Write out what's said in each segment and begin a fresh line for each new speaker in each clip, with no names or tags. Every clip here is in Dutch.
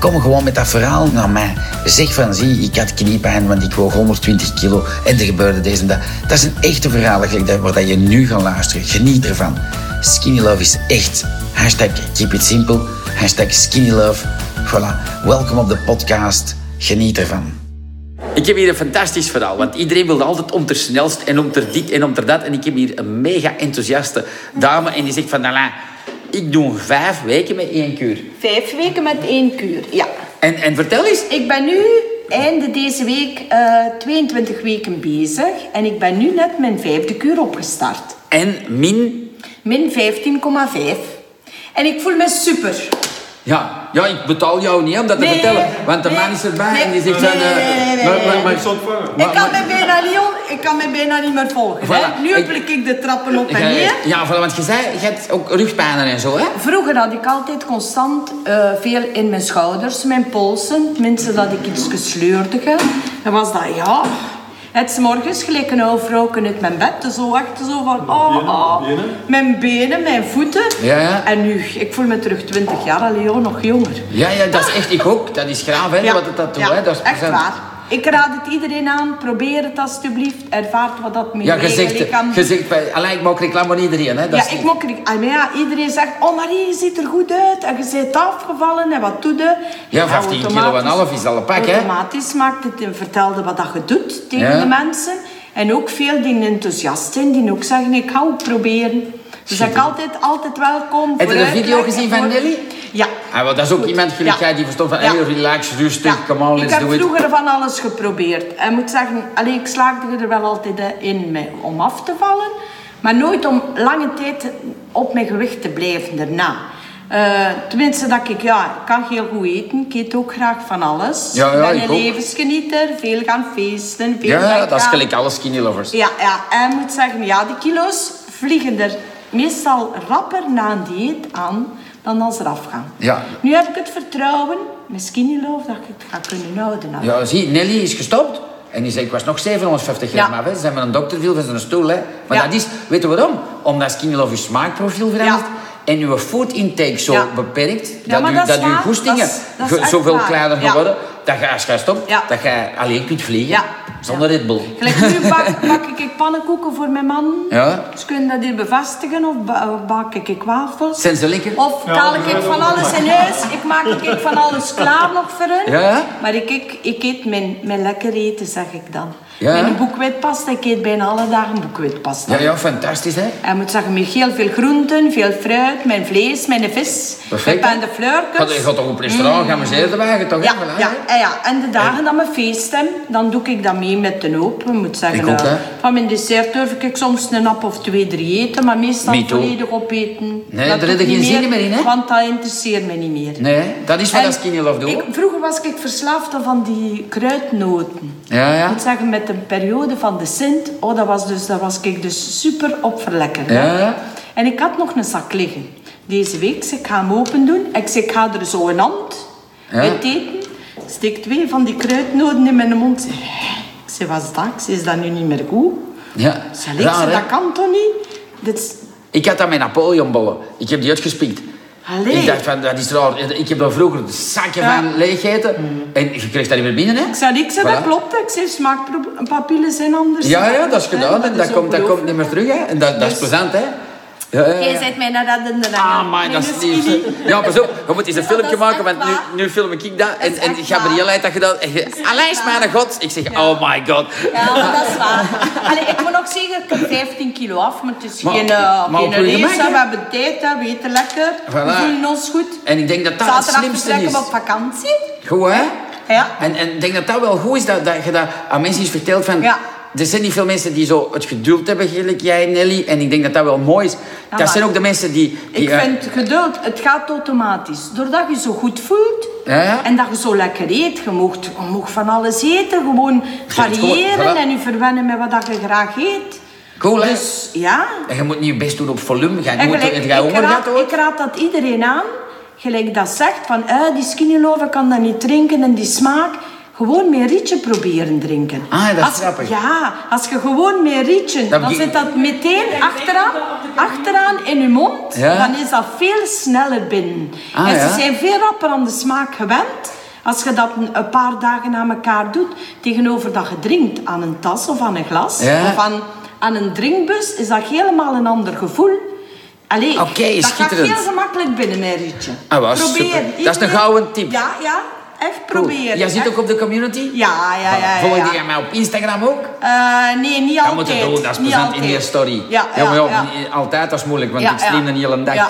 Kom gewoon met dat verhaal naar mij. Zeg van, zie, ik had kniepijn, want ik woog 120 kilo en er gebeurde deze en dat. Dat is een echte verhaal eigenlijk, dat- waar dat je nu gaat luisteren. Geniet ervan. Skinny Love is echt. Hashtag keep it simple. Hashtag skinny love. Voilà. Welkom op de podcast. Geniet ervan.
Ik heb hier een fantastisch verhaal, want iedereen wilde altijd om ter snelst en om ter dit en om ter dat. En ik heb hier een mega enthousiaste dame en die zegt van, Alain, ik doe vijf weken met één kuur.
Vijf weken met één kuur, ja.
En, en vertel eens,
Ik ben nu einde deze week eh, 22 weken bezig en ik ben nu net mijn vijfde kuur opgestart.
en min...
Min 15,5. En ik voel me super.
Ja, ja, ik betaal jou niet om dat te
Nee,
vertellen, want de
nee,
man is erbij en die zegt
nee, nee,
van...
nee,
eh,
nee, nee,
maar-
nee,
maar-
nee.
maar-
Niks ontvangen.
maar-
ik, kan
maar-
me bijna niet om, ik kan me bijna niet meer volgen.
Voilà,
hè. Nu
ik-
pluk ik de trappen op en
Jij-
neer.
Ja, voilà, want je zei, je hebt ook rugpijnen en zo, hè?
Vroeger had ik altijd constant eh, veel in mijn schouders, mijn polsen. Tenminste, dat ik iets gesleurde. Dan was dat, ja... Het is morgens gelijk een oude vrouw uit mijn bed. Zo wachten, zo van... Oh,
benen,
oh,
benen.
Mijn benen, mijn voeten.
Ja, ja.
En nu, ik voel me terug 20 jaar, allee, joh, nog jonger.
Ja, ja, dat is echt, ik ook. Dat is graaf, hè, wat het dat doet,
ja,
hè. Dat is
echt
present.
waar. Ik raad het iedereen aan. Probeer het alstublieft. Ervaart wat dat met
Ja,
je eigen
gezegd,
lichaam doet.
gezegd bij, alleen ik maak reclame voor iedereen. Hè? Dat is
Ja, ik
niet-
mok er niet. Ah, maar ja, iedereen zegt, oh Marie, je ziet er goed uit. En je bent afgevallen en wat doe je?
Ja, 15 kilo en
automatisch-
half is al een pak, hè?
Automatisch maakt het en vertelde wat dat je doet tegen
Ja.
de mensen. En ook veel die enthousiast zijn, die ook zeggen, ik hou het proberen. Dus ik altijd, altijd welkom.
Heb je de
vooruit,
video
lekker
gezien van
voor-
Nelly?
Ja.
Ah, want dat is ook iemand gelijk
Ja.
jij die verstond van
Ja.
hey, relax, rustig,
Ja,
come on, let's
ik
do
heb
it.
vroeger van alles geprobeerd. En moet zeggen, allee, ik slaagde er wel altijd eh, in mij om af te vallen. Maar nooit om lange tijd op mijn gewicht te blijven daarna. Eh, tenminste, dat ik, ja, ik kan heel goed eten. Ik eet ook graag van alles.
Ja, ja,
ik ben
ik
een
ook.
levensgenieter. Veel gaan feesten. Veel
Ja, dat is
weggaan.
gelijk alle skinny lovers.
Ja, ja. En ik moet zeggen, ja, de kilo's vliegen er meestal rapper na een dieet aan dan als ze eraf gaan.
Ja.
Nu heb ik het vertrouwen, misschien niet loof, dat ik het ga kunnen houden. aan.
Ja, zie, Nelly is gestopt. En die zei, ik was nog 750 gram
Ja.
af. Hè. Ze zijn met een dokter viel van zijn stoel. Hè. Maar
Ja.
dat is, weet je waarom? Omdat Skinny Love je smaakprofiel verandert. En je food intake zo
Ja.
beperkt.
Ja,
dat
maar
je,
dat is
dat je
waar.
goestingen
Dat is- dat is
ge-
echt
zoveel
waar.
kleiner
Ja.
geworden. Dat je als je stopt,
Ja.
dat je alleen kunt vliegen.
Ja.
Zonder Red Bull.
Gelijk nu bak, bak ik pannenkoeken voor mijn man.
Ja.
Ze kunnen dat hier bevestigen. Of ba- of bak ik wafels.
Zijn ze lekker?
Of
Ja,
kaal
dat
ik
is
van
wel
alles in huis. Ik maak ik van alles klaar nog voor hun.
Ja.
Maar ik, ik, ik eet mijn, mijn lekker eten, zeg ik dan.
Ja.
Mijn boekwitpasta, ik eet bijna alle dagen boekwitpasta.
Ja, ja, fantastisch hè.
Hij moet zeggen, met heel veel groenten, veel fruit, mijn vlees, mijn vis,
Perfect.
mijn pain de
Gaat, je gaat toch op restaurant gaan amuseren wagen toch? hè?
Ja,
Voilà,
ja,
hè?
en ja, en de dagen dat we feesten, dan doe ik dat mee met de hoop. Ik moet zeggen,
Ik ook,
eh,
hè.
van mijn dessert durf ik soms een hap of twee, drie eten, maar meestal
Me too.
volledig opeten.
Nee,
Dat
daar
doe
heb je
ik
geen
niet
zin meer in, hè?
Want dat interesseert me niet meer.
Nee, dat is wat
En
dat skinny love doet.
ik- vroeger was ik verslaafd aan van die kruidnoten.
Ja, ja.
Ik moet zeggen, met de periode van de Sint, oh, dat was dus, dat was ik dus super op verlekker. hè.
Ja, ja.
En ik had nog een zak liggen. Deze week, ik zei, ik ga hem open doen. Ik zei, ik ga er zo een hand
Ja.
uit eten. Steek twee van die kruidnoten in mijn mond. Ik zei, wat is dat? Ik zei, is dat nu niet meer goed?
Ja,
Ik zei, Alex,
raar, hè?
dat kan toch niet? Dit is...
Ik had dat met Napoleonbollen. Ik heb die uitgespiekt.
Allee.
Ik dacht van, dat is raar. Ik heb daar vroeger de zakken
Ja.
van leeggegeten. En je kreeg dat niet meer binnen, hè?
Ik zei, ik zei, dat
Voilà.
klopt. Ik zei, smaakpapillen zijn anders.
Ja, ja, dat is gedaan. En dat
is
komt, dat komt niet
ongelooflijk.
meer terug, hè? En dat, dat is
Dus-
plezant, hè? Ja, ja,
Jij
ja.
bent mij naar dat en daarna.
Ah, maar dat is lief. hè. Ja, pas op. We moeten eens een
Ja,
filmpje
dat is
maken,
echt
want
waar.
nu, nu film ik dat. En,
is
en
echt
Gabrielle
waar.
heeft dat gedaan. En je, Alain is
waar.
mijn god. Ik zeg, oh my god.
Ja, maar dat is waar. Allee, ik moet nog zeggen, ik heb 15 kilo af, maar het is
Maar-
geen, eh,
maar op
geen
je
race.
gemak, hè?
hè. We hebben tijd, hè. we eten lekker. We
Voilà.
voelen ons goed.
En ik denk dat dat het
Zaterdag
slimste
vertrekken
is.
we op vakantie.
Goed, hè?
Ja.
En en ik denk dat dat wel goed is, dat, dat je dat aan mensen eens vertelt van...
Ja.
er zijn niet veel mensen die zo het geduld hebben, gelijk jij Nelly. En ik denk dat dat wel mooi is. dat
maar-
zijn ook de mensen die... die
Ik
eh,
vind geduld, het gaat automatisch. Doordat je zo goed voelt
Ja, ja.
en dat je zo lekker eet, je mag, je mag van alles eten, gewoon
het gewoon,
variëren
voilà.
en je verwennen met wat dat je graag eet.
Cool, hè?
Dus ja.
En je moet niet je best doen op volume. Gaan, je
En
moet,
gelijk,
het gaat
ik,
honger
raad,
gehad, hoor.
ik raad dat iedereen aan, gelijk dat zegt, van eh, die skinny lover kan dat niet drinken en die smaak. Gewoon met rietje proberen drinken.
Ah, dat is
Als-
grappig.
Ja, als je gewoon met rietje,
Dat
dan
begin-
zit dat meteen achteraan, achteraan in je mond.
Ja.
Dan is dat veel sneller binnen.
Ah,
en ze
ja.
zijn veel rapper aan de smaak gewend. Als je dat een, een paar dagen na elkaar doet, tegenover dat je drinkt aan een tas of aan een glas
Ja.
of aan, aan een drinkbus, is dat helemaal een ander gevoel. Allee,
Oké,
dat gaat
schitterend.
heel gemakkelijk binnen mijn rietje.
Ah, wel,
Probeer.
super. Dat is een
Iedereen-
gouden tip.
Ja, ja. Echt proberen.
Jij zit
echt.
ook op de community?
Ja, ja, ja. ja,
Volg
ja.
jij mij op Instagram ook?
Eh, nee, niet
Dat
altijd.
moet je doen, dat is
niet
plezant in
altijd.
je story.
Ja, ja,
maar
ja.
altijd dat is moeilijk, want
Ja,
ik stream
ja.
een hele dag.
Ja.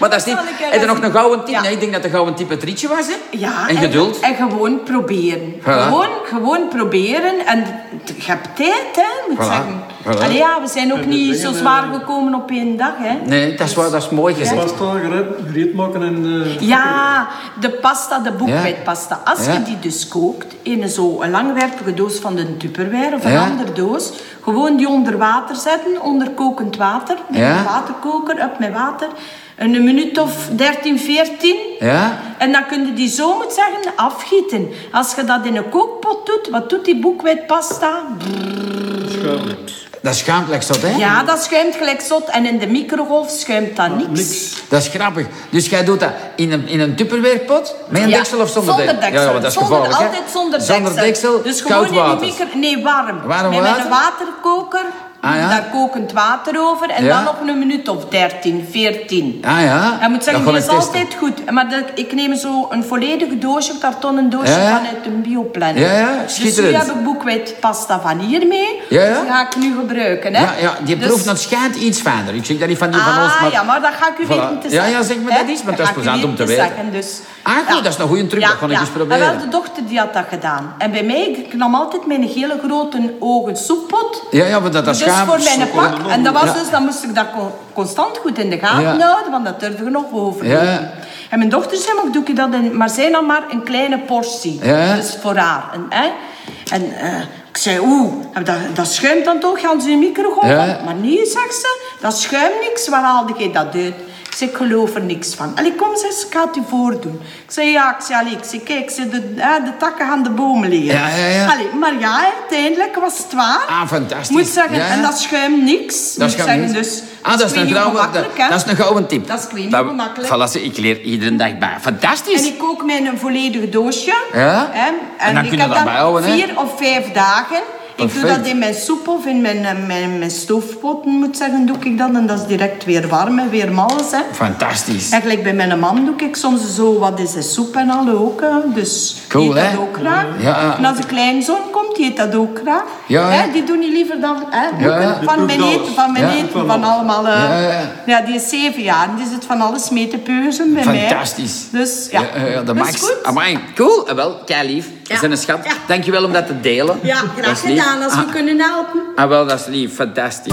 maar dat is niet...
Zal ik, eh,
Heb je nog
dat
een
is-
gouden tip?
Ja.
Nee, ik denk dat de gouden tip het rietje was, hè?
Ja,
En geduld.
En, gewoon proberen.
Voilà.
Gewoon, gewoon proberen. En t- je hebt tijd, hè, moet
Voilà.
ik zeggen.
Voilà.
Allee, ja, we zijn ook
En
niet
de
zo
dingen,
zwaar
eh,
gekomen op één dag, hè.
Nee, dat is, waar, dat is mooi gezegd.
Pasta gereed, gereed maken en... eh,
Ja, de pasta, de boekwijdpasta. Als
Ja.
je die dus kookt in zo'n langwerpige doos van de Tupperware of een
Ja.
andere doos, gewoon die onder water zetten, onder kokend water, met
Ja.
een waterkoker, op met water, een minuut of 13, 14.
Ja.
En dan kun je die zo, moet zeggen, afgieten. Als je dat in een kookpot doet, wat doet die boekwijdpasta?
schuim.
Dat is schaamtelijk zat, hè?
Ja, dat schuimt gelijk zot. En in de microgolf schuimt dat niks.
Niks.
Dat is grappig. Dus jij doet dat in een, in een tupperwarepot? Met een
Ja,
deksel of zonder,
deksel?
Ja, ja, want dat is
Zonder-
gevaarlijk, hè?
Altijd zonder deksel.
Zonder deksel,
dus
koud
gewoon in
water.
de micro... Nee, warm.
Warm
Met
water?
een waterkoker,
Ah, ja.
daar kokend water over. En
Ja.
dan op een minuut of 13, 14.
Ah, ja.
Hij moet zeggen,
Dat
die
ga
is
ik testen.
altijd goed. Maar dat, ik neem zo een volledig doosje, kartonnen doosje
Ja, ja.
vanuit een bioplanner.
Ja, ja,
Dus nu
schitterend.
heb ik boekweit pasta van hier mee.
Ja, ja.
Die ga ik nu gebruiken. Hè.
Ja, ja, die
Dus-
proeft, dat schijnt iets fijner. Ik zeg dat niet van die van ons,
Ah,
maar...
ja, maar dat ga ik u
Voilà.
weten te
Ja,
zeggen.
ja, zeg maar
hè.
dat is, want dat is
ga ik u
plezant om te weten.
zeggen, dus.
Ah, goed, dat is een goeie truc, dat ga ik eens proberen.
En wel, de dochter die had dat gedaan. En bij mij, ik nam altijd mijn hele grote ogen soeppot.
Ja, ja, want dat dat
Dus
schaam...
voor mijn pak. En dat was
Ja.
dus, dan moest ik dat co- constant goed in de gaten
Ja.
houden, want dat durfde ik nog over.
Ja.
En mijn dochter zei, maar doe ik dat in, maar zij nam maar een kleine portie.
Ja.
Dus voor haar. En, hè. en eh, ik zei, oeh, dat, dat schuimt dan toch, gaan ze in de microgolf?
Ja.
Maar nee, zegt ze, dat schuimt niks, waar haalde jij dat uit? Ik zei, ik geloof er niks van. Allee, kom eens, ik ga het u voordoen. Ik zei, ja, ik zei, allee, ik zei, kijk, ik zei, de, hè, de takken gaan de bomen liggen.
Ja, ja, ja.
Allee, maar ja, hè, uiteindelijk was het waar.
Ah, fantastisch.
Moet zeggen,
Ja.
en dat schuimt niks.
Dat
moet
is gaan
zeggen,
niet.
dus,
ah, dat is een
niet
gouden, dat,
gemakkelijk, hè.
dat is een gouden tip.
Dat is weer niet
Dat-
gemakkelijk.
Voilà, zie, ik leer iedere dag bij. Fantastisch.
En ik kook mijn een volledig doosje.
Ja?
Hè, en,
En dan
ik
kun je
heb
dat bijhouden, hè?
vier of vijf dagen. Ik doe
Perfect.
dat in mijn soep of in mijn, eh, mijn, mijn stoofpotten, moet zeggen, doe ik dat. En dat is direct weer warm en weer mals, hè.
Fantastisch.
En gelijk bij mijn man doe ik soms zo wat is de soep en al ook. hè. Dus
Cool,
die eet
hè?
dat ook graag.
Ja.
En als een kleinzoon komt, die eet dat ook graag.
Ja, hè?
Hè, die doen niet liever dan hè,
Ja, ja.
van mijn
Die proeft
eten, van mijn
alles. Ja.
eten, van allemaal. eh,
Ja, ja, ja.
ja, die is zeven jaar en die zit van alles mee te peuzen bij mij.
Fantastisch. Eh,
Dus ja,
ja, ja, dat
is
maakt...
goed.
Amai, cool. Ah, wel, kei lief.
Ja.
Dat is een schat.
Ja.
Dankjewel om dat te delen.
Ja,
Dat is
graag
lief.
gedaan als we
Ah,
kunnen helpen.
ah, wel, dat is lief. Fantastisch.